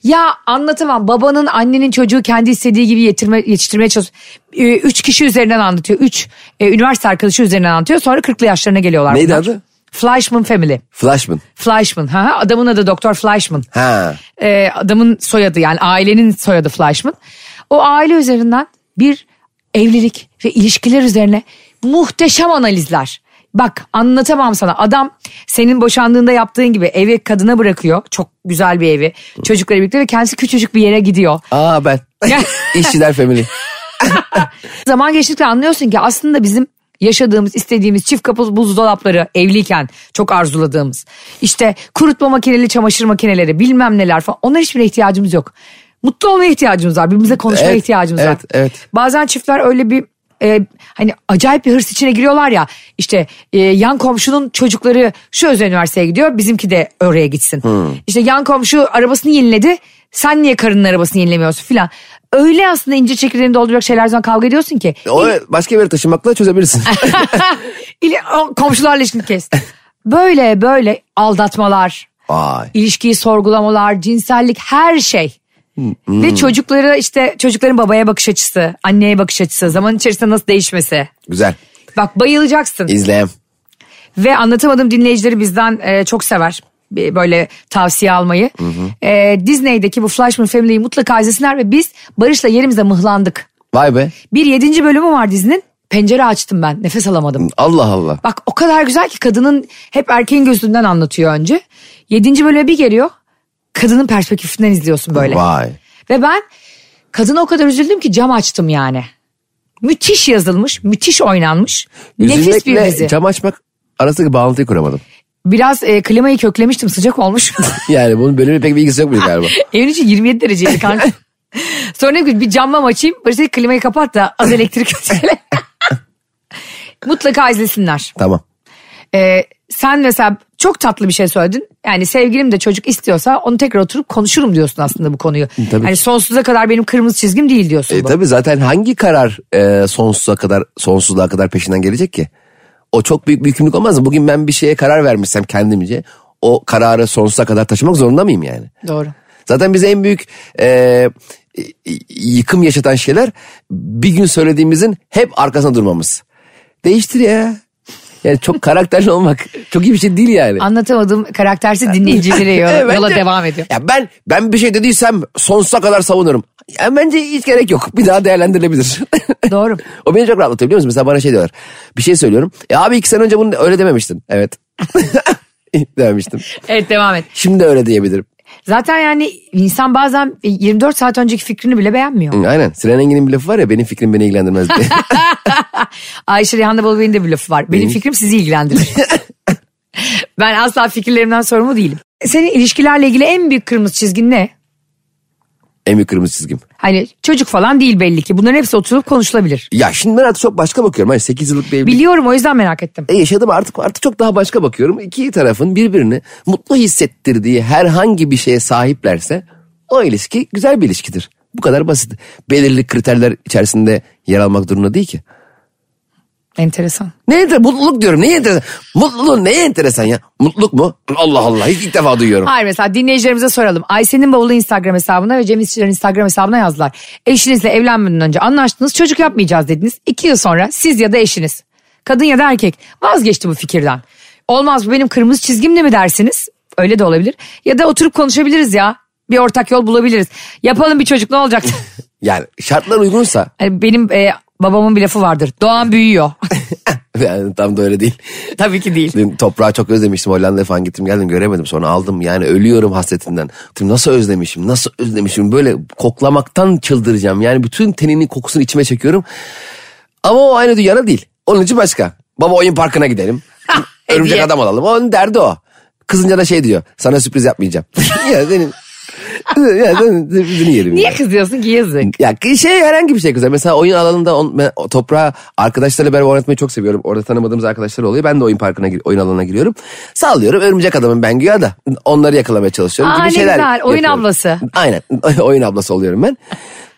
Ya anlatamam babanın annenin çocuğu kendi istediği gibi yetirme, yetiştirmeye çalışıyor. E, üç kişi üzerinden anlatıyor. Üç e, üniversite arkadaşı üzerinden anlatıyor. Sonra 40'lı yaşlarına geliyorlar. Neydi bunlar. adı? Fleischman Family. Flashman. Fleischman. Ha, ha, adamın adı Doktor Fleischman Ha. e, adamın soyadı yani ailenin soyadı Fleischman. O aile üzerinden bir evlilik ve ilişkiler üzerine muhteşem analizler. Bak anlatamam sana adam senin boşandığında yaptığın gibi evi kadına bırakıyor. Çok güzel bir evi çocukla birlikte ve kendisi küçücük bir yere gidiyor. Aa ben. İşçiler family. Zaman geçtikçe anlıyorsun ki aslında bizim yaşadığımız, istediğimiz çift kapı buzdolapları evliyken çok arzuladığımız. işte kurutma makineli çamaşır makineleri bilmem neler falan onlara hiçbir ihtiyacımız yok. Mutlu olmaya ihtiyacımız var. Birbirimize konuşmaya Evet, ihtiyacımız var. evet, evet. Bazen çiftler öyle bir e, hani acayip bir hırs içine giriyorlar ya işte e, yan komşunun çocukları şu özel üniversiteye gidiyor bizimki de oraya gitsin. İşte yan komşu arabasını yeniledi sen niye karının arabasını yenilemiyorsun filan. Öyle aslında ince çekirdeğini dolduracak şeyler zaman kavga ediyorsun ki. O başka bir yere taşınmakla çözebilirsin. İli- o komşularla ilişkini kes. Böyle böyle aldatmalar, Vay. ilişkiyi sorgulamalar, cinsellik her şey. Ve çocuklara işte çocukların babaya bakış açısı, anneye bakış açısı, zaman içerisinde nasıl değişmesi. Güzel. Bak bayılacaksın. İzleyem. Ve anlatamadım dinleyicileri bizden e, çok sever bir- böyle tavsiye almayı. E, Disney'deki bu Flashman Family'yi mutlaka izlesinler ve biz Barış'la yerimizde mıhlandık. Vay be. Bir yedinci bölümü var dizinin. Pencere açtım ben nefes alamadım. Allah Allah. Bak o kadar güzel ki kadının hep erkeğin gözünden anlatıyor önce. Yedinci bölüme bir geliyor. Kadının perspektifinden izliyorsun böyle. Vay. Ve ben kadına o kadar üzüldüm ki cam açtım yani. Müthiş yazılmış, müthiş oynanmış. nefis bir Üzülmekle dizi. cam açmak arasındaki bağlantıyı kuramadım. Biraz e, klimayı köklemiştim sıcak olmuş. Yani bunun bölümü pek bir ilgisi yok muydu galiba? Evin içi 27 dereceydi kanka. Sonra dedim ki bir camlam açayım. Barış dedi klimayı kapat da az elektrik ötele. Mutlaka izlesinler. tamam. Ee, sen mesela çok tatlı bir şey söyledin. Yani sevgilim de çocuk istiyorsa onu tekrar oturup konuşurum diyorsun aslında bu konuyu. Tabii. Yani sonsuza kadar benim kırmızı çizgim değil diyorsun. E, bu. tabii zaten hangi karar e, sonsuza kadar sonsuzluğa kadar peşinden gelecek ki? O çok büyük bir yükümlülük olmaz mı? Bugün ben bir şeye karar vermişsem kendimce o kararı sonsuza kadar taşımak zorunda mıyım yani? Doğru. Zaten bize en büyük e, y- yıkım yaşatan şeyler bir gün söylediğimizin hep arkasına durmamız. Değiştir ya. Yani çok karakterli olmak çok iyi bir şey değil yani. Anlatamadığım karaktersiz dinleyicilere yola, Evet, yola bence- devam ediyor. Ya ben ben bir şey dediysem sonsuza kadar savunurum. Ya bence hiç gerek yok. Bir daha değerlendirilebilir. Doğru. o beni çok rahatlatıyor biliyor musun? Mesela bana şey diyorlar. Bir şey söylüyorum. E abi iki sene önce bunu öyle dememiştin. Evet. demiştim. Evet devam et. Şimdi de öyle diyebilirim. Zaten yani insan bazen 24 saat önceki fikrini bile beğenmiyor. Hı, Aynen. Sinan Engin'in bir lafı var ya benim fikrim beni ilgilendirmez diye. Ayşe Rihanna Bolu'nun de bir lafı var. Benim fikrim sizi ilgilendirir. ben asla fikirlerimden sorumlu değilim. Senin ilişkilerle ilgili en büyük kırmızı çizgin ne? en büyük kırmızı çizgim. Hani çocuk falan değil belli ki. Bunların hepsi oturup konuşulabilir. Ya şimdi ben artık çok başka bakıyorum. Hani 8 yıllık bir evlilik. Biliyorum o yüzden merak ettim. E yaşadım artık artık çok daha başka bakıyorum. İki tarafın birbirini mutlu hissettirdiği herhangi bir şeye sahiplerse o ilişki güzel bir ilişkidir. Bu kadar basit. Belirli kriterler içerisinde yer almak durumunda değil ki. Enteresan. Ne enter- mutluluk diyorum. Neye enteresan? Mutluluğun neye enteresan ya? Mutluluk mu? Allah Allah. Hiç ilk defa duyuyorum. Hayır mesela dinleyicilerimize soralım. Ayşe'nin bavulu Instagram hesabına ve Cem İşçilerin Instagram hesabına yazdılar. Eşinizle evlenmeden önce anlaştınız çocuk yapmayacağız dediniz. İki yıl sonra siz ya da eşiniz kadın ya da erkek vazgeçti bu fikirden. Olmaz bu benim kırmızı çizgim de mi dersiniz? Öyle de olabilir. Ya da oturup konuşabiliriz ya. Bir ortak yol bulabiliriz. Yapalım bir çocuk ne olacak? Yani şartlar uygunsa Hani benim e, babamın bir lafı vardır. Doğan büyüyor. yani tam da öyle değil. Tabii ki değil. Dün toprağı çok özlemiştim. Hollanda'ya falan gittim geldim göremedim. Sonra aldım yani ölüyorum hasretinden. Dedim nasıl özlemişim nasıl özlemişim böyle koklamaktan çıldıracağım. Yani bütün teninin kokusunu içime çekiyorum. Ama o aynı dünyada değil. Onun için başka. Baba oyun parkına gidelim. Örümcek hediye. adam alalım. Onun derdi o. Kızınca da şey diyor. Sana sürpriz yapmayacağım. ya senin... ya senin sürprizini yerim. Niye ya. kızıyorsun ki yazık? Ya ki- şey herhangi bir şey güzel. Mesela oyun alanında on, ben o toprağa arkadaşlarla beraber oynatmayı çok seviyorum. Orada tanımadığımız arkadaşlar oluyor. Ben de oyun parkına gir- oyun alanına giriyorum. Sallıyorum örümcek adamım ben güya da onları yakalamaya çalışıyorum. Aa, gibi ne şeyler güzel. Oyun yapıyorum. ablası. Aynen oyun ablası oluyorum ben.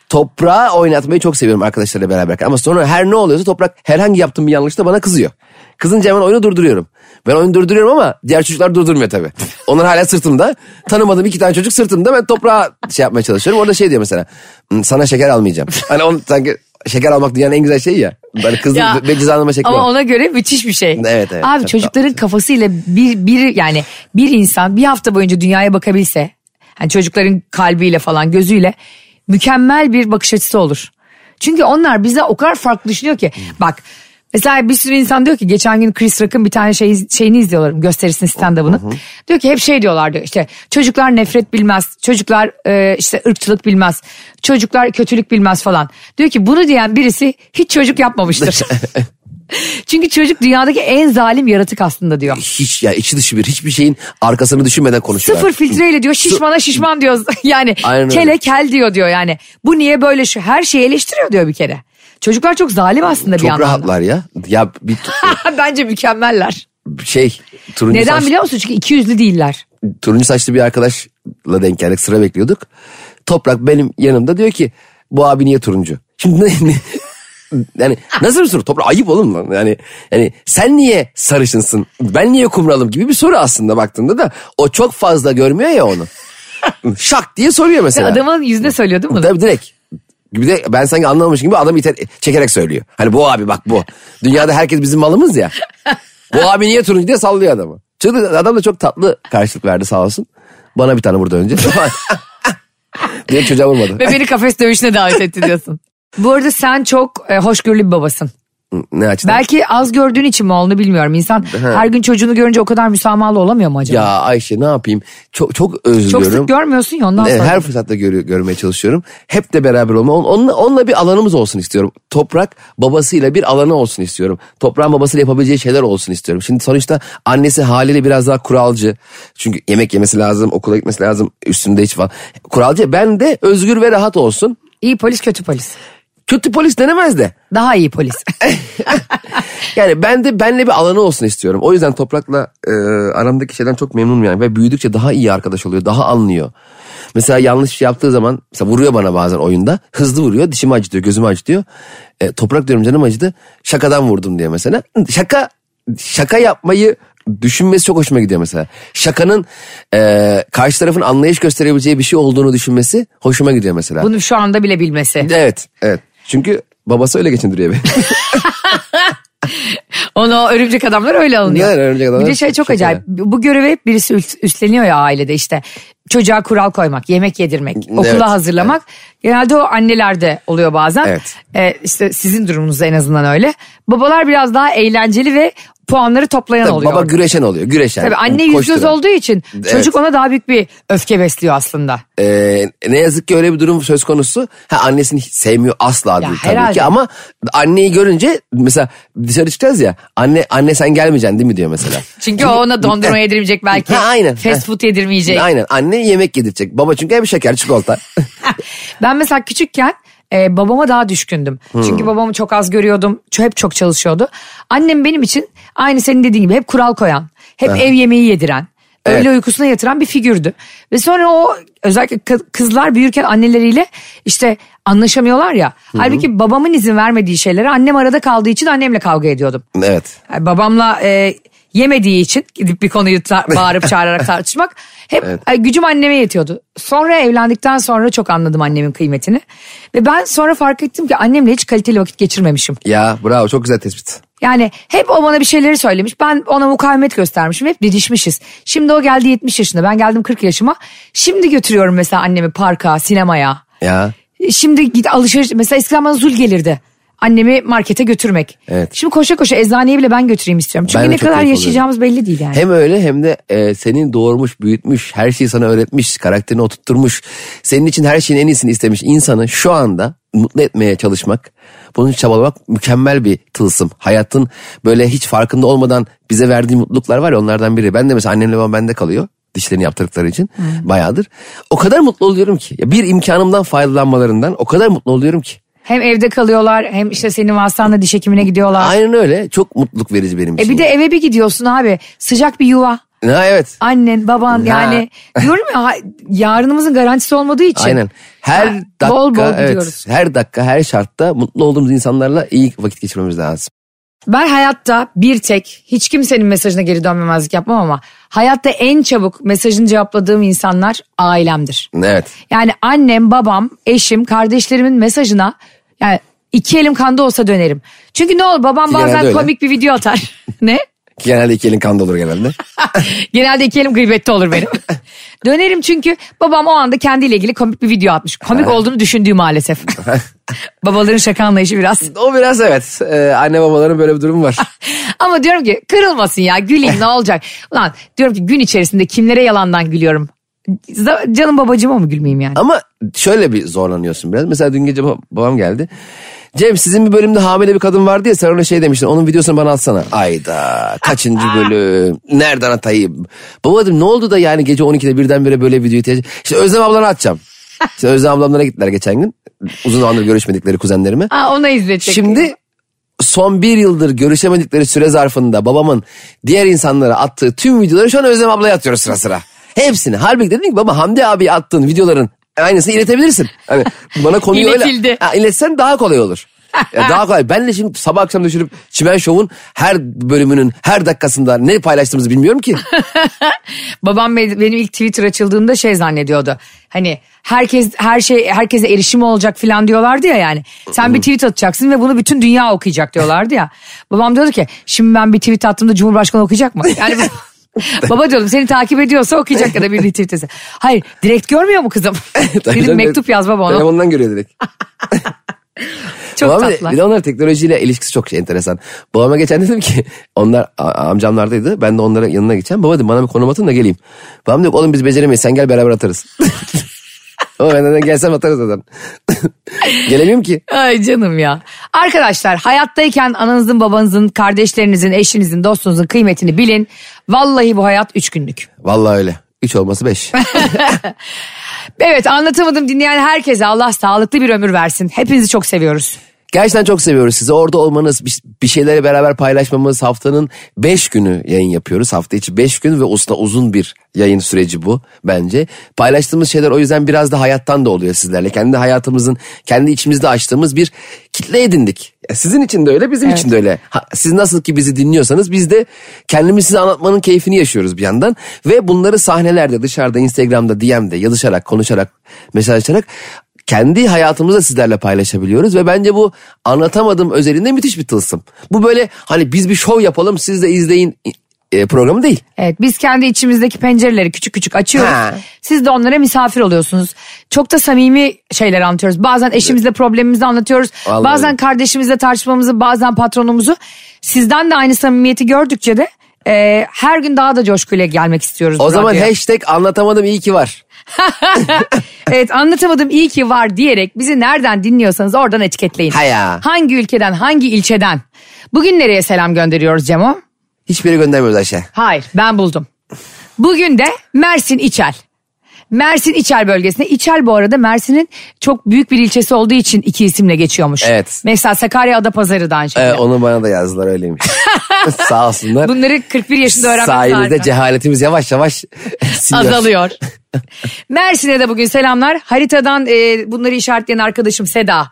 Toprağı oynatmayı çok seviyorum arkadaşlarla beraber. Ama sonra her ne oluyorsa toprak herhangi yaptığım bir yanlışta bana kızıyor. Kızınca hemen oyunu durduruyorum. Ben oyunu durduruyorum ama diğer çocuklar durdurmuyor tabii. Onlar hala sırtımda. Tanımadığım iki tane çocuk sırtımda ben toprağa şey yapmaya çalışıyorum. Orada şey diyor mesela. "Hmm, Sana şeker almayacağım. Hani onu sanki şeker almak dünyanın en güzel şeyi ya. Hani kızın Ya, ve cezalandırma şekli Ama o. ona göre müthiş bir şey. Evet, evet. Abi Çok çocukların kafasıyla bir, bir yani bir insan bir hafta boyunca dünyaya bakabilse hani çocukların kalbiyle falan gözüyle mükemmel bir bakış açısı olur. Çünkü onlar bize o kadar farklı düşünüyor ki Hmm. bak Mesela bir sürü insan diyor ki geçen gün Chris Rock'ın bir tane şey, şeyini izliyorlar gösterisini stand-up'ını. Diyor ki hep şey diyorlar diyor işte çocuklar nefret bilmez, çocuklar e, işte ırkçılık bilmez, çocuklar kötülük bilmez falan. Diyor ki bunu diyen birisi hiç çocuk yapmamıştır. Çünkü çocuk dünyadaki en zalim yaratık aslında diyor. Hiç ya içi dışı bir hiçbir şeyin arkasını düşünmeden konuşuyorlar. Sıfır filtreyle diyor şişmana şişman diyor. Yani Aynen öyle. kele kel diyor diyor yani. Bu niye böyle şu her şeyi eleştiriyor diyor bir kere. Çocuklar çok zalim aslında bir Çok yandan. da. rahatlar ya. Ya bir Bence mükemmeller. şey turuncu Neden saç- biliyor musun? Çünkü iki yüzlü değiller. turuncu saçlı bir arkadaşla denk geldik sıra bekliyorduk. Toprak benim yanımda diyor ki bu abi niye turuncu? Şimdi ne- ne- yani nasıl bir soru? Toprak ayıp oğlum lan. Yani, yani sen niye sarışınsın? Ben niye kumralım gibi bir soru aslında baktığında da o çok fazla görmüyor ya onu. Şak diye soruyor mesela. Adamın yüzüne söylüyor değil mi? Tabii direkt. Bir de ben sanki anlamamış gibi adam iter, çekerek söylüyor. Hani bu abi bak bu. Dünyada herkes bizim malımız ya. Bu abi niye turuncu diye sallıyor adamı. Çünkü adam da çok tatlı karşılık verdi sağ olsun. Bana bir tane vurdu önce. diye çocuğa vurmadı. Ve beni kafes dövüşüne davet etti diyorsun. Bu arada sen çok e, hoşgörülü bir babasın. ne açıdan? Belki az gördüğün için mi onu bilmiyorum. İnsan her gün çocuğunu görünce o kadar müsamahalı olamıyor mu acaba? Ya Ayşe ne yapayım? Çok çok çok özlüyorum. sık görmüyorsun ya ondan Evet, sonra. E, her fırsatta görü- görmeye çalışıyorum. Hep de beraber olma. On- Onunla, onunla bir alanımız olsun istiyorum. Toprak babasıyla bir alanı olsun istiyorum. Toprağın babasıyla yapabileceği şeyler olsun istiyorum. Şimdi sonuçta annesi haliyle biraz daha kuralcı. Çünkü yemek yemesi lazım, okula gitmesi lazım. Üstünde hiç falan. Kuralcı ben de özgür ve rahat olsun. İyi polis kötü polis. Kötü polis denemez de. Daha iyi polis. Yani ben de benle bir alanı olsun istiyorum. O yüzden Toprak'la e, aramdaki şeyden çok memnunum yani. Ve büyüdükçe daha iyi arkadaş oluyor. Daha anlıyor. Mesela yanlış bir şey yaptığı zaman mesela vuruyor bana bazen oyunda. Hızlı vuruyor. Dişimi acıtıyor. Gözümü acıtıyor. E, toprak diyorum canım acıdı. Şakadan vurdum diye mesela. Şaka şaka yapmayı düşünmesi çok hoşuma gidiyor mesela. Şakanın e, karşı tarafın anlayış gösterebileceği bir şey olduğunu düşünmesi hoşuma gidiyor mesela. Bunu şu anda bile bilmesi. Evet. Evet. Çünkü babası öyle geçindiriyor beni. Onu örümcek adamlar öyle alınıyor. Yani örümcek adamlar Bir de şey çok çok acayip. Bu görevi hep birisi üst- üstleniyor ya ailede işte. Çocuğa kural koymak, yemek yedirmek, okula Evet, hazırlamak. Genelde o annelerde oluyor bazen. E, Evet. Ee, işte sizin durumunuzda en azından öyle. Babalar biraz daha eğlenceli ve puanları toplayan Tabii oluyor. baba orada. güreşen oluyor. Güreşen. Tabii anne yüz göz koşturan. olduğu için çocuk ona daha büyük bir öfke besliyor aslında. Ee, ne yazık ki öyle bir durum söz konusu. Ha annesini hiç sevmiyor asla değil tabii herhalde. ki ama anneyi görünce mesela dışarı çıkacağız ya anne anne sen gelmeyeceksin değil mi diyor mesela. Çünkü o ona dondurma yedirmeyecek belki. Ha, aynen. Fast Heh. food yedirmeyecek. Aynen anne yemek yedirecek. Baba çünkü hep şeker çikolata. Ben mesela küçükken e, babama daha düşkündüm. Çünkü babamı çok az görüyordum. Ç- Hep çok çalışıyordu. Annem benim için aynı senin dediğin gibi hep kural koyan, hep ev yemeği yediren, öyle Evet. uykusuna yatıran bir figürdü. Ve sonra o özellikle kı- kızlar büyürken anneleriyle işte anlaşamıyorlar ya. Halbuki babamın izin vermediği şeylere annem arada kaldığı için annemle kavga ediyordum. evet. Yani babamla e, yemediği için gidip bir konuyu ta- bağırıp çağırarak tartışmak hep e, gücüm anneme yetiyordu. Sonra evlendikten sonra çok anladım annemin kıymetini. Ve ben sonra fark ettim ki annemle hiç kaliteli vakit geçirmemişim. Ya bravo çok güzel tespit. Yani hep o bana bir şeyleri söylemiş. Ben ona mukavemet göstermişim. Hep didişmişiz. Şimdi o geldi 70 yaşında. Ben geldim 40 yaşıma. Şimdi götürüyorum mesela annemi parka, sinemaya. Ya Şimdi git alışveriş mesela eskiden bana zul gelirdi. Annemi markete götürmek. Evet. Şimdi koşa koşa eczaneye bile ben götüreyim istiyorum. Çünkü Ben de ne çok kadar keyif yaşayacağımız belli değil yani. hem öyle hem de e, senin doğurmuş, büyütmüş, her şeyi sana öğretmiş, karakterini oturtmuş, senin için her şeyin en iyisini istemiş insanı şu anda mutlu etmeye çalışmak, bunun için çabalamak mükemmel bir tılsım. Hayatın böyle hiç farkında olmadan bize verdiği mutluluklar var ya onlardan biri. Ben de mesela annemle babam bende kalıyor dişlerini yaptırdıkları için bayağıdır. O kadar mutlu oluyorum ki. Ya bir imkanımdan faydalanmalarından o kadar mutlu oluyorum ki. Hem evde kalıyorlar hem işte senin vasıtanla diş hekimine gidiyorlar. Aynen öyle. Çok mutluluk verici benim E için. bir de eve bir gidiyorsun abi. Sıcak bir yuva. Ha, evet. Annen, baban yani diyorum ya ha- yarınımızın garantisi olmadığı için. Aynen. Her Ha, dakika bol bol evet, gidiyoruz. her dakika her şartta mutlu olduğumuz insanlarla iyi vakit geçirmemiz lazım. Ben hayatta bir tek hiç kimsenin mesajına geri dönmemezlik yapmam ama hayatta en çabuk mesajını cevapladığım insanlar ailemdir. Evet. Yani annem, babam, eşim, kardeşlerimin mesajına yani iki elim kanda olsa dönerim. Çünkü ne olur babam Genelde bazen öyle. komik bir video atar. ne? Genelde iki elin kanda olur genelde. Genelde iki elim gıybette olur benim. dönerim çünkü babam o anda kendiyle ilgili komik bir video atmış. Komik olduğunu düşündüğü maalesef. Babaların şaka anlayışı biraz. o biraz evet. Ee, anne babaların böyle bir durumu var. Ama diyorum ki kırılmasın ya güleyim ne olacak. Ulan diyorum ki gün içerisinde kimlere yalandan gülüyorum. Z- Canım babacığıma mı gülmeyeyim yani? Ama şöyle bir zorlanıyorsun biraz. Mesela dün gece bab- babam geldi. Cem sizin bir bölümde hamile bir kadın vardı ya sen ona şey demiştin onun videosunu bana atsana. Ayda kaçıncı bölüm nereden atayım? Baba dedim ne oldu da yani gece 12'de birdenbire böyle video ihtiyacı. İşte Özlem ablana atacağım. İşte Özlem ablamlara gittiler geçen gün. Uzun zamandır görüşmedikleri kuzenlerime. Aa, ona izletecek. Şimdi son bir yıldır görüşemedikleri süre zarfında babamın diğer insanlara attığı tüm videoları şu an Özlem ablaya atıyoruz sıra sıra. Hepsini. Halbuki dedim ki baba Hamdi abi attığın videoların aynısını iletebilirsin. Hani bana konuyu öyle İletildi. ha, iletsen daha kolay olur. Ya daha kolay. Ben de şimdi sabah akşam düşünüp Çimen Show'un her bölümünün her dakikasında ne paylaştığımızı bilmiyorum ki. Babam be- benim ilk Twitter açıldığında şey zannediyordu. Hani herkes her şey herkese erişim olacak falan diyorlardı ya yani. Sen bir tweet atacaksın ve bunu bütün dünya okuyacak diyorlardı ya. Babam diyordu ki şimdi ben bir tweet attığımda Cumhurbaşkanı okuyacak mı? Yani bu- Baba diyordum seni takip ediyorsa okuyacak ya da bir tweet etse. Hayır direkt görmüyor mu kızım? Dedim mektup yaz baba ona. Telefondan görüyor direkt. Çok Babam- tatlı. Bir de onlar teknolojiyle ilişkisi çok şey, enteresan. Babama geçen dedim ki onlar a- amcamlardaydı. Ben de onlara yanına geçen. Baba dedim bana bir konum atın da geleyim. Babam diyor ki, oğlum biz beceremeyiz sen gel beraber atarız. Ama ben de gelsem atarız zaten. Gelemiyorum ki. Ay canım ya. Arkadaşlar hayattayken ananızın, babanızın, kardeşlerinizin, eşinizin, dostunuzun kıymetini bilin. Vallahi bu hayat üç günlük. Vallahi öyle. Üç olması beş. Evet anlatamadım dinleyen herkese Allah sağlıklı bir ömür versin. Hepinizi çok seviyoruz. Gerçekten çok seviyoruz sizi. Orada olmanız, bir- bir şeyleri beraber paylaşmamız haftanın 5 günü yayın yapıyoruz. Hafta içi 5 gün ve usta uzun bir yayın süreci bu bence. Paylaştığımız şeyler o yüzden biraz da hayattan da oluyor sizlerle. Kendi hayatımızın, kendi içimizde açtığımız bir kitle edindik. Ya Sizin için de öyle, bizim için de öyle. Ha, siz nasıl ki bizi dinliyorsanız biz de kendimizi size anlatmanın keyfini yaşıyoruz bir yandan. Ve bunları sahnelerde, dışarıda, Instagram'da, DM'de yazışarak, konuşarak, mesajlaşarak kendi hayatımızı da sizlerle paylaşabiliyoruz ve bence bu anlatamadım özelinde müthiş bir tılsım. Bu böyle hani biz bir şov yapalım siz de izleyin e, programı değil. Evet biz kendi içimizdeki pencereleri küçük küçük açıyoruz. Ha. Siz de onlara misafir oluyorsunuz. Çok da samimi şeyler anlatıyoruz. Bazen eşimizle problemimizi anlatıyoruz. Vallahi. Bazen kardeşimizle tartışmamızı bazen patronumuzu. Sizden de aynı samimiyeti gördükçe de e, her gün daha da coşkuyla gelmek istiyoruz. O bu zaman radyoya. hashtag anlatamadım iyi ki var. Evet anlatamadım iyi ki var diyerek bizi nereden dinliyorsanız oradan etiketleyin. Haya. Hangi ülkeden hangi ilçeden? Bugün nereye selam gönderiyoruz Cemo? Hiçbiri göndermiyoruz Ayşe. Hayır ben buldum. Bugün de Mersin İçel. Mersin İçel bölgesinde. İçel bu arada Mersin'in çok büyük bir ilçesi olduğu için iki isimle geçiyormuş. Evet. Mesela Sakarya Adapazarı da aynı şekilde. Ee, onu bana da yazdılar öyleymiş. Sağ olsunlar. Bunları 41 yaşında öğrenmek Sayenizde harika. cehaletimiz yavaş yavaş siniyor. azalıyor. Mersin'e de bugün selamlar. Haritadan e, bunları işaretleyen arkadaşım Seda.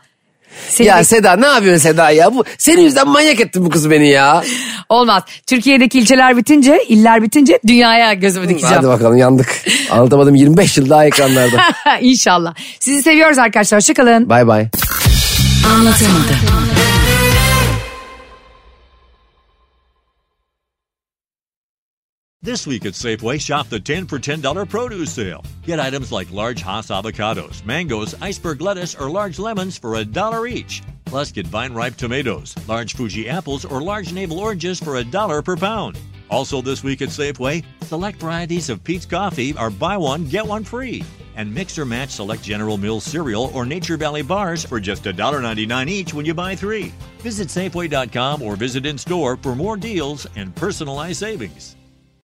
Seni Ya bek- Seda ne yapıyorsun Seda ya? Bu, senin yüzünden manyak ettin bu kızı beni ya. Olmaz. Türkiye'deki ilçeler bitince, iller bitince dünyaya gözümü dikeceğim. Hadi bakalım yandık. Anlatamadım 25 yıl daha ekranlarda. İnşallah. Sizi seviyoruz arkadaşlar. Hoşçakalın. Bay bay. Anlatamadım. This week at Safeway, shop the 10 for $10 produce sale. Get items like large Hass avocados, mangoes, iceberg lettuce, or large lemons for a dollar each. Plus, get vine ripe tomatoes, large Fuji apples, or large navel oranges for a dollar per pound. Also, this week at Safeway, select varieties of Pete's Coffee are buy one, get one free. And mix or match select General Mills cereal or Nature Valley bars for just $1.99 each when you buy three. Visit Safeway.com or visit in store for more deals and personalized savings.